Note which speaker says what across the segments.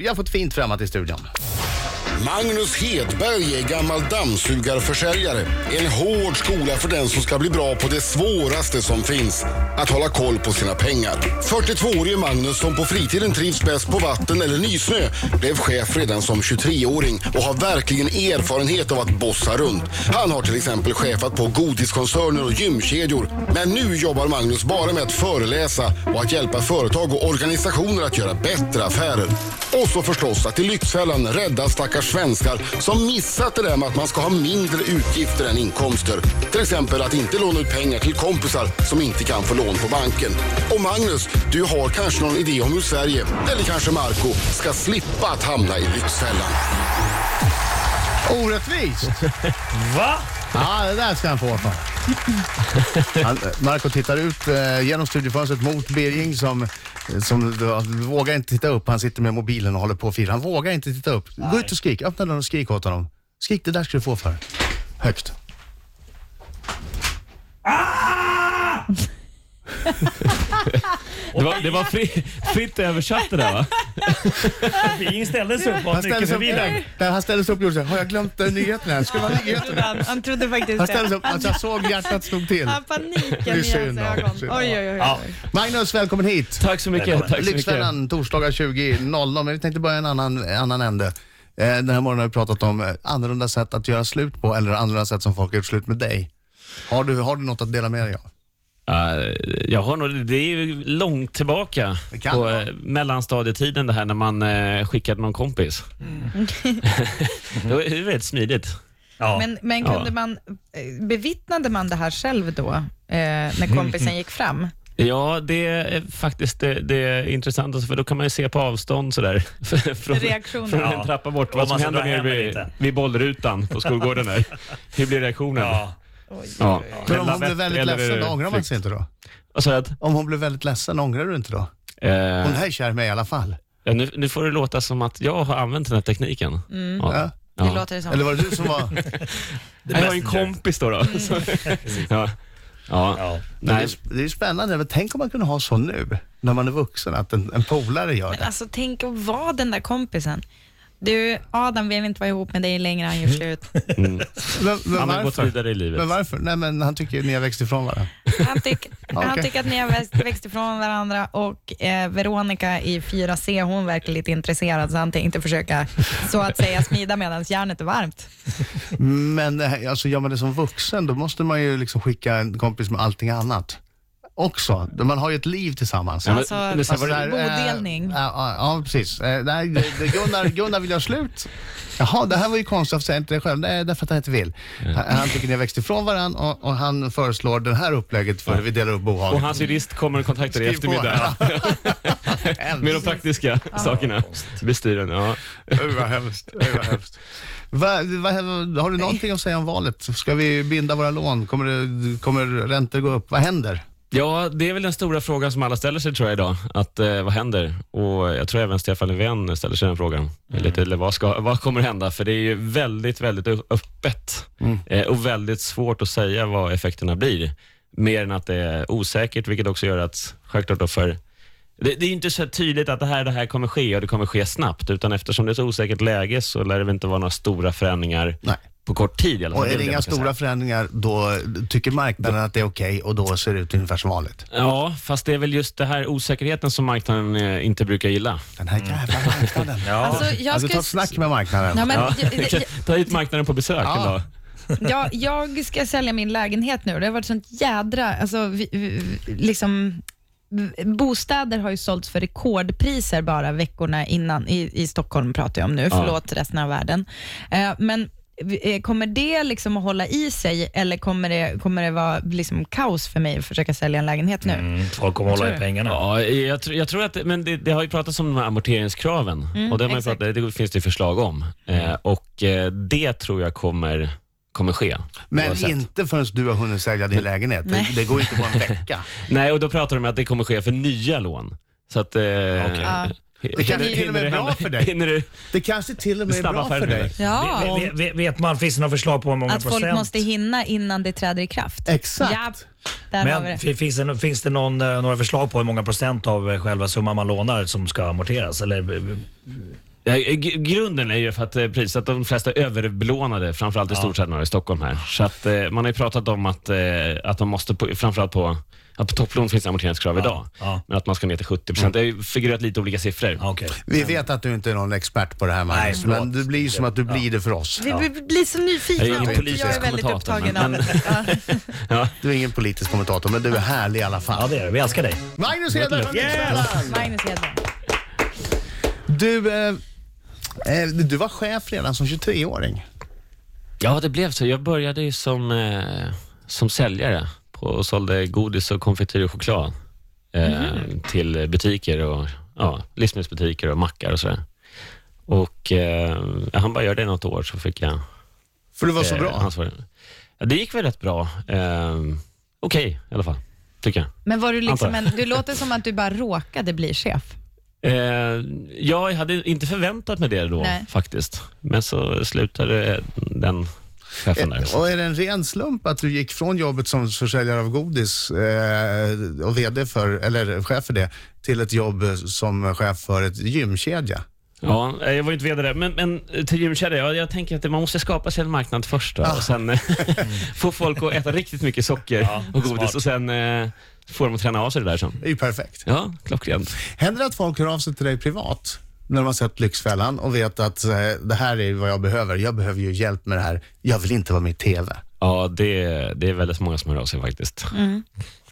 Speaker 1: Vi har fått fint framåt i studion.
Speaker 2: Magnus Hedberg är gammal dammsugarförsäljare. En hård skola för den som ska bli bra på det svåraste som finns. Att hålla koll på sina pengar. 42-årige Magnus som på fritiden trivs bäst på vatten eller nysnö blev chef redan som 23-åring och har verkligen erfarenhet av att bossa runt. Han har till exempel chefat på godiskoncerner och gymkedjor. Men nu jobbar Magnus bara med att föreläsa och att hjälpa företag och organisationer att göra bättre affärer. Och så förstås att i Lyxfällan rädda stackars svenskar som missat det där med att man ska ha mindre utgifter än inkomster. Till exempel att inte låna ut pengar till kompisar som inte kan få lån på banken. Och Magnus, du har kanske någon idé om hur Sverige, eller kanske Marco, ska slippa att hamna i Lyxfällan.
Speaker 1: Orättvist!
Speaker 3: Va?
Speaker 1: Ja, det där ska han få för. Han, Marco tittar ut eh, genom studiofönstret mot Birging som, som då, vågar inte titta upp. Han sitter med mobilen och håller på och filar. Han vågar inte titta upp. Gå ut och skrik. Öppna dörren och skrik åt honom. Skrik, det där ska du få för. Högt.
Speaker 4: Det var, det var fri, fritt översatt det där va?
Speaker 3: Bing ställde sig upp och
Speaker 1: Han
Speaker 3: var
Speaker 1: ställer
Speaker 3: mycket
Speaker 1: sig upp,
Speaker 3: förvirrad.
Speaker 1: där han ställer sig upp och gjorde så här, Har jag glömt eh, nyheten här? Skulle vara nyheter.
Speaker 5: Han, han trodde faktiskt
Speaker 1: Han
Speaker 5: det.
Speaker 1: ställer sig upp. Alltså, jag såg hjärtat slog till.
Speaker 5: Han
Speaker 1: Det
Speaker 5: paniken
Speaker 1: är
Speaker 5: i hans
Speaker 1: synd om-
Speaker 5: ögon. Oj,
Speaker 1: synd om.
Speaker 5: oj, oj.
Speaker 3: Ja.
Speaker 5: oj.
Speaker 1: Magnus, välkommen hit.
Speaker 4: Tack så mycket.
Speaker 3: Välkommen.
Speaker 4: Tack så mycket.
Speaker 1: Lyxfällan torsdagar 20.00. Men vi tänkte börja en annan, annan ände. Eh, Den här morgonen har vi pratat om eh, annorlunda sätt att göra slut på eller annorlunda sätt som folk har gjort slut med dig. Har du, har du något att dela med dig av?
Speaker 4: Ja, jag har nog, det är ju långt tillbaka
Speaker 1: Det kan
Speaker 4: på
Speaker 1: vara.
Speaker 4: eh, mellanstadietiden det här när man eh, skickade någon kompis. det var det var väldigt smidigt.
Speaker 3: Ja.
Speaker 5: Men, men kunde man, eh, bevittnade man det här själv då, eh, när kompisen gick fram?
Speaker 4: Ja, det är faktiskt det, det är intressant, alltså, för då kan man ju se på avstånd sådär. från,
Speaker 5: Reaktionen.
Speaker 4: från
Speaker 3: Ja.
Speaker 4: en trappa bort,
Speaker 3: Om
Speaker 4: vad
Speaker 3: man
Speaker 4: som
Speaker 3: ska
Speaker 4: händer
Speaker 3: dra
Speaker 4: nere
Speaker 3: hem eller
Speaker 4: vid,
Speaker 3: inte.
Speaker 4: vid bollrutan på skolgården. Där. Hur blir reaktionen?
Speaker 3: Ja.
Speaker 5: Oj.
Speaker 4: Ja.
Speaker 1: Men om hon
Speaker 4: Lavett
Speaker 1: blev väldigt
Speaker 4: eller
Speaker 1: ledsen, ångrar man
Speaker 4: flykt.
Speaker 1: sig inte då?
Speaker 4: Vad sa jag?
Speaker 1: Om hon blev väldigt ledsen, ångrar du inte då?
Speaker 4: Eh,
Speaker 1: Hon är kär med i alla fall.
Speaker 4: Ja, nu, nu får det låta som att jag har använt den här tekniken.
Speaker 1: Ja.
Speaker 4: Ja.
Speaker 5: Mm. Det
Speaker 4: Ja.
Speaker 5: låter det som.
Speaker 1: Eller var det du som var...
Speaker 4: Jag har ju en kompis då.
Speaker 5: Mm.
Speaker 4: då. Så- ja. Ja.
Speaker 3: Ja.
Speaker 1: Men Det
Speaker 4: Nej.
Speaker 1: är, det är ju spännande, men tänk om man kunde ha så nu, när man är vuxen, att en, en polare gör det.
Speaker 5: Alltså tänk att vara den där kompisen. Du, Adam vill inte vara ihop med dig längre, han gör slut.
Speaker 4: Mm.
Speaker 1: Men, men
Speaker 4: Han har gått
Speaker 1: varför?
Speaker 4: vidare i livet.
Speaker 1: Men varför? Nej, men han tycker ju ni har växt ifrån varandra.
Speaker 5: Han, tyck, han
Speaker 1: Okej.
Speaker 5: tycker att ni har växt, växt ifrån varandra och eh, Veronica i 4C, hon verkar lite intresserad så han tänkte försöka så att säga smida medan järnet är varmt.
Speaker 1: Men det här- alltså, gör man det som vuxen, då måste man ju liksom skicka en kompis med allting annat också. Man har ju ett liv tillsammans.
Speaker 4: Ja, men-
Speaker 5: Alltså,
Speaker 4: men sen var det-
Speaker 1: där, eh,
Speaker 5: bodelning.
Speaker 1: Ja, ja, ja precis. Eh, nej, det- det- Gunnar, Gunnar vill göra slut. Jaha, det här var ju konstigt, varför säger jag inte det själv? Nej, därför att han inte vill. Han, han tycker ni har växt ifrån varandra och, och han föreslår det här upplägget för hur vi delar upp
Speaker 4: Och
Speaker 1: bohaget.
Speaker 4: hans jurist kommer att kontakta dig i
Speaker 1: Skriv på.
Speaker 4: eftermiddag. Med de praktiska sakerna. Bestyren. Ja.
Speaker 1: Uy, vad hemskt. Uy, vad hemskt. Va, va, har du någonting att säga om valet? Ska vi binda våra lån? Kommer, det, kommer räntor gå upp? Vad händer?
Speaker 4: ja, det är väl den stora frågan som alla ställer sig tror jag idag. Att, eh, vad händer? Och jag tror även Stefan Löfven ställer sig den
Speaker 1: Mm.
Speaker 4: frågan. Lite, eller vad, ska, vad kommer hända? För det är ju väldigt, väldigt ö- öppet
Speaker 1: Mm.
Speaker 4: eh, och väldigt svårt att säga vad effekterna blir. Mer än att det är osäkert, vilket också gör att självklart då för Det, det är ju inte så tydligt att det här, det här kommer ske och det kommer ske snabbt, utan eftersom det är så osäkert läge så lär det väl inte vara några stora förändringar
Speaker 1: Nej.
Speaker 4: på kort tid i alla fall.
Speaker 1: Och är
Speaker 4: väl
Speaker 1: det inga
Speaker 4: man kan
Speaker 1: stora förändringar, då tycker marknaden att det är okej och då ser det ut ungefär som vanligt.
Speaker 4: säga. Ja, fast det är väl just det här osäkerheten som marknaden eh, inte brukar gilla.
Speaker 1: Den här jävla marknaden.
Speaker 3: Ja.
Speaker 5: Alltså, jag
Speaker 1: Alltså
Speaker 5: ska
Speaker 1: ta ett snack med marknaden.
Speaker 5: Ja, men,
Speaker 4: Ja.
Speaker 5: jag,
Speaker 4: Ta hit marknaden på besök
Speaker 1: Ja.
Speaker 4: en dag.
Speaker 5: jag, jag ska sälja min lägenhet nu. Det har varit sånt jädra... Alltså, vi, vi, liksom, bostäder har ju sålts för rekordpriser bara veckorna innan. I, i Stockholm pratar jag om nu, förlåt resten av världen. Eh, men eh, kommer det liksom att hålla i sig eller kommer det, kommer det vara liksom kaos för mig att försöka sälja en lägenhet nu?
Speaker 3: Mm, folk kommer hålla i pengarna.
Speaker 4: Ja, jag, tror- jag tror att, men det, det har ju pratats om de här amorteringskraven
Speaker 1: Mm,
Speaker 4: och det, har man ju
Speaker 5: exakt.
Speaker 4: pratat, det finns det ju förslag om. Eh, och eh, det tror jag kommer, kommer ske.
Speaker 1: Men
Speaker 4: oavsett.
Speaker 1: inte förrän du har hunnit sälja din lägenhet. Det,
Speaker 5: Nej.
Speaker 1: det går inte på en vecka.
Speaker 4: Nej, och då pratar de om att det kommer ske för nya lån. Så att... Eh,
Speaker 5: Ja.
Speaker 4: Det
Speaker 1: kanske till och med är bra för dig.
Speaker 4: Hinner du,
Speaker 1: Det kanske till och med är
Speaker 4: Snabba
Speaker 1: bra för
Speaker 4: affärer.
Speaker 1: dig.
Speaker 5: Ja,
Speaker 3: Vet, vet, vet man, finns det några förslag på hur många
Speaker 5: att
Speaker 3: procent?
Speaker 5: folk måste hinna innan det träder i kraft.
Speaker 1: Exakt.
Speaker 5: Ja, där har vi
Speaker 3: men
Speaker 5: det.
Speaker 3: fi- finns det, finns det någon, eh, några förslag på hur många procent av eh, själva summan man lånar som ska amorteras? Eller eh,
Speaker 4: Ja, g- Grunden är ju för att eh, priset att de flesta är överbelånade, framförallt i storstäderna och i Stockholm här. Så att, eh, man har ju pratat om att, eh, att man måste, på, framförallt på, att på topplån finns amorteringskrav idag,
Speaker 3: ja. Mm.
Speaker 4: men att man ska ner till 70 Det har ju figurerat lite olika siffror.
Speaker 3: Ja, Okej.
Speaker 1: Vi vet att du inte är någon expert på det här Magnus,
Speaker 3: förlåt.
Speaker 1: men det blir som att du blir det för oss.
Speaker 5: Vi vi blir så nyfikna.
Speaker 4: Jag är ingen
Speaker 5: och
Speaker 4: politisk
Speaker 5: jag är väldigt
Speaker 4: kommentator,
Speaker 5: upptagen
Speaker 4: men-
Speaker 5: av det. Ja.
Speaker 1: Du är ingen politisk kommentator, men du är härlig i alla
Speaker 3: Ja,
Speaker 1: fall.
Speaker 3: det är det. Vi älskar dig.
Speaker 1: Magnus Hedberg från Lyxfällan!
Speaker 5: Magnus Hedman.
Speaker 1: Du, eh, eh, du var chef redan som 23-åring.
Speaker 4: Ja, det blev så. Jag började ju som, eh, som säljare på, och sålde godis och konfektyr och choklad eh,
Speaker 3: Mhm.
Speaker 4: till butiker och ja, livsmedelsbutiker och mackar och sådär. Och eh, han bara gör det i något år så fick jag
Speaker 1: För du var så
Speaker 4: eh,
Speaker 1: bra.
Speaker 4: ansvar. Ja, det gick väl rätt bra. Eh, Okej i alla fall, tycker jag.
Speaker 5: Men var du liksom en,
Speaker 4: Antar
Speaker 5: du låter som att du bara råkade bli chef.
Speaker 4: Eh, ja, jag hade inte förväntat mig det då
Speaker 5: Nej.
Speaker 4: faktiskt. Men så slutade eh, den chefen där.
Speaker 1: Eh, Och är det en ren slump att du gick från jobbet som försäljare av godis eh, och VD för, eller chef för det, till ett jobb som chef för ett gymkedja?
Speaker 4: Ja, eh, jag var ju inte vd där, men, men eh, till gymkedja, jag, jag tänker att man måste skapa sig en marknad först då,
Speaker 1: Ah.
Speaker 4: och sen eh, få folk att äta riktigt mycket socker och godis
Speaker 3: smart.
Speaker 4: och sen eh, få dem att träna av sig det där sen.
Speaker 1: Det är ju perfekt.
Speaker 4: Ja, klockrent.
Speaker 1: Händer det att folk hör av sig till dig privat när de har sett Lyxfällan och vet att eh, det här är vad jag behöver. Jag behöver ju hjälp med det här. Jag vill inte vara med i TV.
Speaker 4: Ja, det, det är väldigt många som hör av sig faktiskt.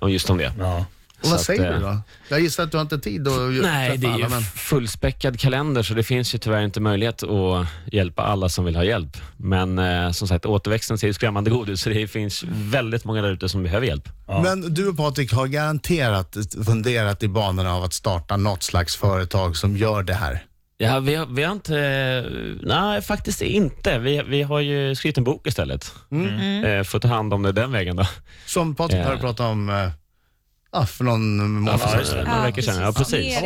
Speaker 4: Och just om det.
Speaker 3: Ja.
Speaker 1: Och vad
Speaker 4: Så att,
Speaker 1: säger
Speaker 4: eh,
Speaker 1: du då? Jag gissar att du har inte tid att ju-
Speaker 4: Nej,
Speaker 1: träffa
Speaker 4: det är ju
Speaker 1: alla, men
Speaker 4: fullspäckad kalender, så det finns ju tyvärr inte möjlighet att hjälpa alla som vill ha hjälp. Men eh, som sagt, återväxten ser ju skrämmande god ut, så det finns väldigt många där ute som behöver hjälp.
Speaker 1: Men du och Patrik har garanterat funderat i banorna av att starta något slags företag som gör det här.
Speaker 4: Ja, vi har, vi har inte... Nej, faktiskt inte. Vi, vi har ju skrivit en bok istället. Eh, får ta hand om det den vägen då.
Speaker 1: Som Patrik
Speaker 4: Ja.
Speaker 1: har pratat om eh, ja, för någon månad
Speaker 4: för
Speaker 1: sedan.
Speaker 4: några veckor sedan. Ja, precis.
Speaker 5: Mer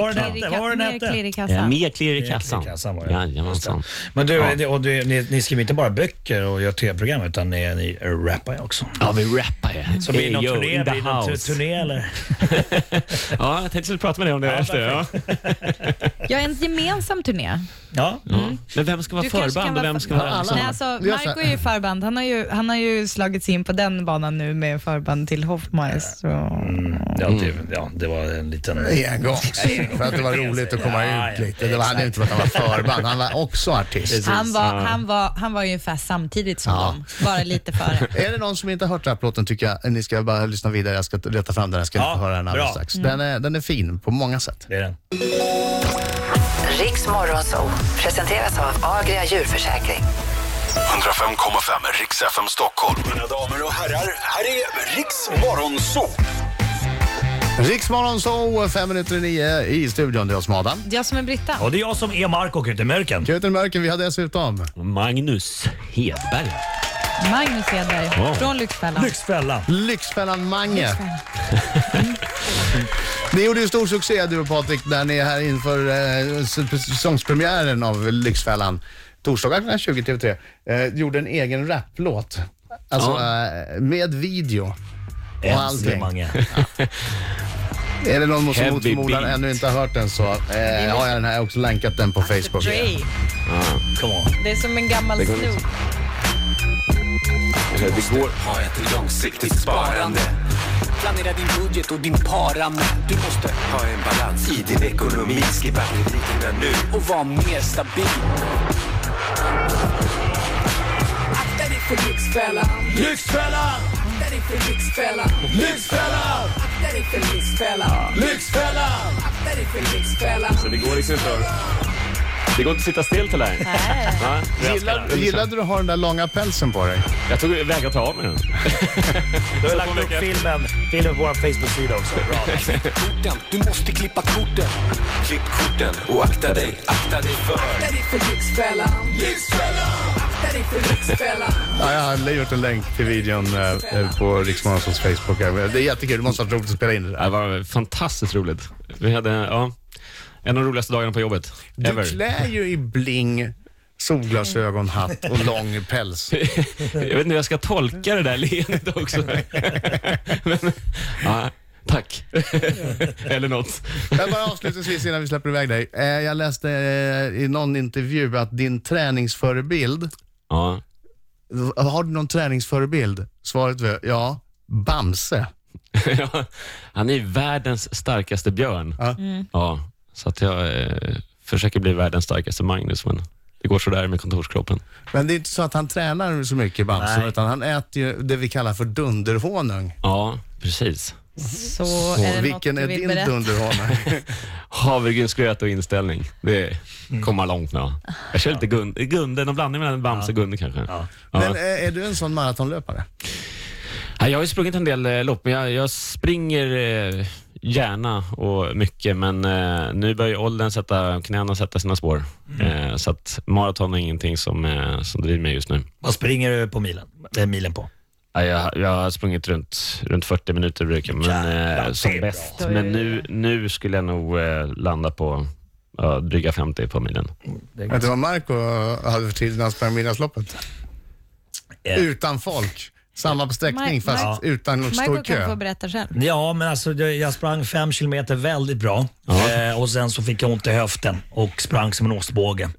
Speaker 3: Vad var den
Speaker 5: klirr i
Speaker 3: hette?
Speaker 5: ka-
Speaker 3: Vad var den
Speaker 5: mer
Speaker 3: hette?
Speaker 5: klirr i kassan.
Speaker 4: Eh, Mer klirr i kassan.
Speaker 3: Mer klirr i kassan var det.
Speaker 4: Jajamensan.
Speaker 3: Men du,
Speaker 4: Ja.
Speaker 3: det- och du ni, ni skriver inte bara böcker och gör tv-program, utan ni, ni rappar ju också.
Speaker 4: Ja, vi rappar ju.
Speaker 3: Så blir det någon
Speaker 4: Hey, yo,
Speaker 3: turné,
Speaker 4: in the
Speaker 3: blir det någon tu-
Speaker 4: house.
Speaker 3: turné eller?
Speaker 4: Ja, jag tänkte prata med dig om det efter. Ja.
Speaker 5: Ja, en gemensam turné.
Speaker 3: Ja.
Speaker 4: Ja. Mm. Men vem ska vara
Speaker 5: Mm. Du kanske kan
Speaker 4: förband och
Speaker 5: vara
Speaker 4: vem
Speaker 5: för-
Speaker 4: ska vara...
Speaker 1: Ja, alla.
Speaker 4: sång?
Speaker 5: Nej, alltså,
Speaker 1: Vi gör så här.
Speaker 5: Marco är ju förband. Han har ju, han har ju slagits in på den banan nu med förband till Hoffmaestro.
Speaker 4: Mm,
Speaker 3: Ja, det, ja, det var en liten...
Speaker 1: Engångs. För att det var roligt att komma
Speaker 3: Ja,
Speaker 1: ut
Speaker 3: ja,
Speaker 1: lite. Det var, hade inte varit att han var förband, han var också artist.
Speaker 5: Han var,
Speaker 4: Ja.
Speaker 5: han, var, han var ju ungefär samtidigt som
Speaker 1: Ja.
Speaker 5: dem, bara lite före.
Speaker 1: Är det någon som inte har hört rapplåten tycker jag ni ska bara lyssna vidare. Jag ska leta fram den. Jag ska
Speaker 3: Ja,
Speaker 1: inte höra den alldeles
Speaker 3: bra. Mm.
Speaker 1: strax. Den är, den är fin på många sätt.
Speaker 3: Det är den.
Speaker 6: Riks Morgonzoo presenteras av Agria djurförsäkring.
Speaker 7: 105,5 Riks FM Stockholm. Mina damer och herrar, här är Riks Morgonzoo.
Speaker 1: Riksmorgon så fem minuter i nio i studion. Det är jag som är Adam.
Speaker 5: Jag som är Britta.
Speaker 3: Och det är jag som är Marco Kutemörken.
Speaker 1: Göten Mörken, vi har dessutom
Speaker 4: Magnus Hedberg.
Speaker 5: Magnus Hedberg från Lyxfällan.
Speaker 3: Lyxfällan.
Speaker 1: Lyxfällan Mange. Ni gjorde ju stor succé du och Patrik när ni är här inför eh, s- säsongspremiären av Lyxfällan. Torsdagar klockan 20 TV3. Eh, gjorde en egen raplåt. Alltså eh, med video. Och allting.
Speaker 3: Mange.
Speaker 1: Är det någon som
Speaker 4: Heavy
Speaker 1: mot förmodan
Speaker 4: beat.
Speaker 1: ännu inte har hört den så eh, har jag den här. Jag har också länkat den på Facebook.
Speaker 5: Dre.
Speaker 3: Come on.
Speaker 5: Det är som en gammal Snoop.
Speaker 7: Det går ha ett långsiktigt sparande.
Speaker 8: Planera din budget och din parande. Du måste
Speaker 7: Ha en balans i din ekonomi. Skippa krediterna nu.
Speaker 8: och vara mer stabil. Akta dig för lyxfällan. Lyxfällan! Akta dig för lyxfällan. Lyxfällan! Akta dig för lyxfällan. Lyxfällan! Akta dig för lyxfällan.
Speaker 4: Det går liksom inte att- Det går inte att sitta still till det här. Ja, vi älskar
Speaker 1: Gillade,
Speaker 4: den.
Speaker 1: gillade du att ha den där långa pälsen på dig?
Speaker 4: Jag tog vägrat ta av mig den.
Speaker 3: Du har lagt upp filmen, filmen på vår Facebook-sida också. Bra.
Speaker 8: Korten, Du måste klippa korten.
Speaker 7: Klipp korten och akta dig, akta dig för.
Speaker 8: Akta dig för lyxfällan. Lyxfällan! Akta dig för lyxfällan.
Speaker 1: Ja, jag har gjort en länk till videon eh, eh, på Riksmorgons Facebook. här. Det är jättekul. Det måste ha varit roligt att spela in det där.
Speaker 4: Det var fantastiskt roligt. Vi hade ja, en av de roligaste dagarna på jobbet.
Speaker 1: Du
Speaker 4: Ever.
Speaker 1: klär ju i bling, solglasögon, hatt och lång päls.
Speaker 4: Jag vet inte hur jag ska tolka det där leendet också. Men, ja, Tack. Eller något.
Speaker 1: Men bara avslutningsvis innan vi släpper iväg dig. Eh, Jag läste eh, i någon intervju att din träningsförebild,
Speaker 4: Ja.
Speaker 1: har du någon träningsförebild? Svaret var ja, Bamse.
Speaker 4: Ja, Han är ju världens starkaste björn.
Speaker 1: Ja.
Speaker 4: Ja, så att jag eh, försöker bli världens starkaste Magnus, men det går sådär med kontorskroppen.
Speaker 1: Men det är inte så att han tränar så mycket Bamse,
Speaker 3: Nej.
Speaker 1: utan han äter ju det vi kallar för dunderhonung.
Speaker 4: Ja, precis.
Speaker 5: Så,
Speaker 1: Och
Speaker 5: är det
Speaker 1: vilken
Speaker 5: något
Speaker 1: är
Speaker 5: du vill
Speaker 1: din
Speaker 5: berätta?
Speaker 1: dunderhonung?
Speaker 4: Havregrynsgröt och inställning. Det kommer man långt med. Jag kör lite Gun- Gunde, någon blandning mellan Bamse och Gunde kanske. Ja.
Speaker 1: Men eh, är du en sån maratonlöpare?
Speaker 4: Ja, Jag har ju sprungit en del eh, lopp, men jag, jag springer eh, gärna och mycket, men eh, nu börjar ju åldern sätta, knäna sätta sina spår. Eh, så att maraton är ingenting som, eh, som driver mig just nu.
Speaker 3: Vad springer du på milen? Det är milen på.
Speaker 4: Ja, jag, jag har sprungit runt, runt 40 minuter brukar jag, men
Speaker 3: Jävlar,
Speaker 4: eh, som
Speaker 3: det är bra.
Speaker 4: bäst. Men nu, nu skulle jag nog eh, landa på ja, dryga 50 på milen.
Speaker 1: Vet du vad Marco hade för tid när han sprang Midnattsloppet?
Speaker 3: Eh,
Speaker 1: Utan folk. Samma sträckning
Speaker 5: Mar-
Speaker 1: fast
Speaker 5: Mar-
Speaker 1: utan någon
Speaker 5: Michael
Speaker 1: stor
Speaker 5: kan få
Speaker 1: kö.
Speaker 5: berätta själv.
Speaker 3: Ja, men alltså jag jag sprang fem kilometer väldigt bra eh, och sen så fick jag ont i höften och sprang som en ostbåge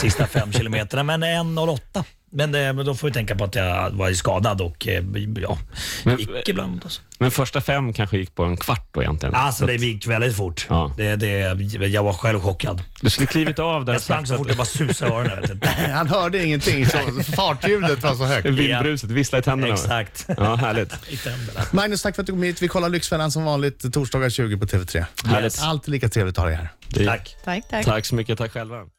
Speaker 3: sista fem kilometerna. Men 1.08. Men, det, men då får vi tänka på att jag var ju skadad och eh, ja,
Speaker 4: Men-
Speaker 3: gick ibland. Alltså.
Speaker 4: Men första fem kanske gick på en kvart då egentligen.
Speaker 3: alltså det gick väldigt fort.
Speaker 4: Ja.
Speaker 3: Det, det, jag var själv chockad.
Speaker 4: Du skulle klivit av där
Speaker 3: Jag sprang så fort jag bara susade i öronen. Vet du.
Speaker 1: Han hörde ingenting, så fartljudet var så högt.
Speaker 4: Vindbruset, vissla i tänderna.
Speaker 3: Exakt.
Speaker 4: Ja, härligt.
Speaker 3: I tänderna.
Speaker 1: Magnus, tack för att du kom hit. Vi kollar Lyxfällan som vanligt torsdagar 20 på TV3.
Speaker 4: Härligt.
Speaker 1: Alltid lika trevligt att ha dig här.
Speaker 4: Det-
Speaker 3: Tack.
Speaker 5: Tack, tack.
Speaker 4: Tack så mycket. Tack själva.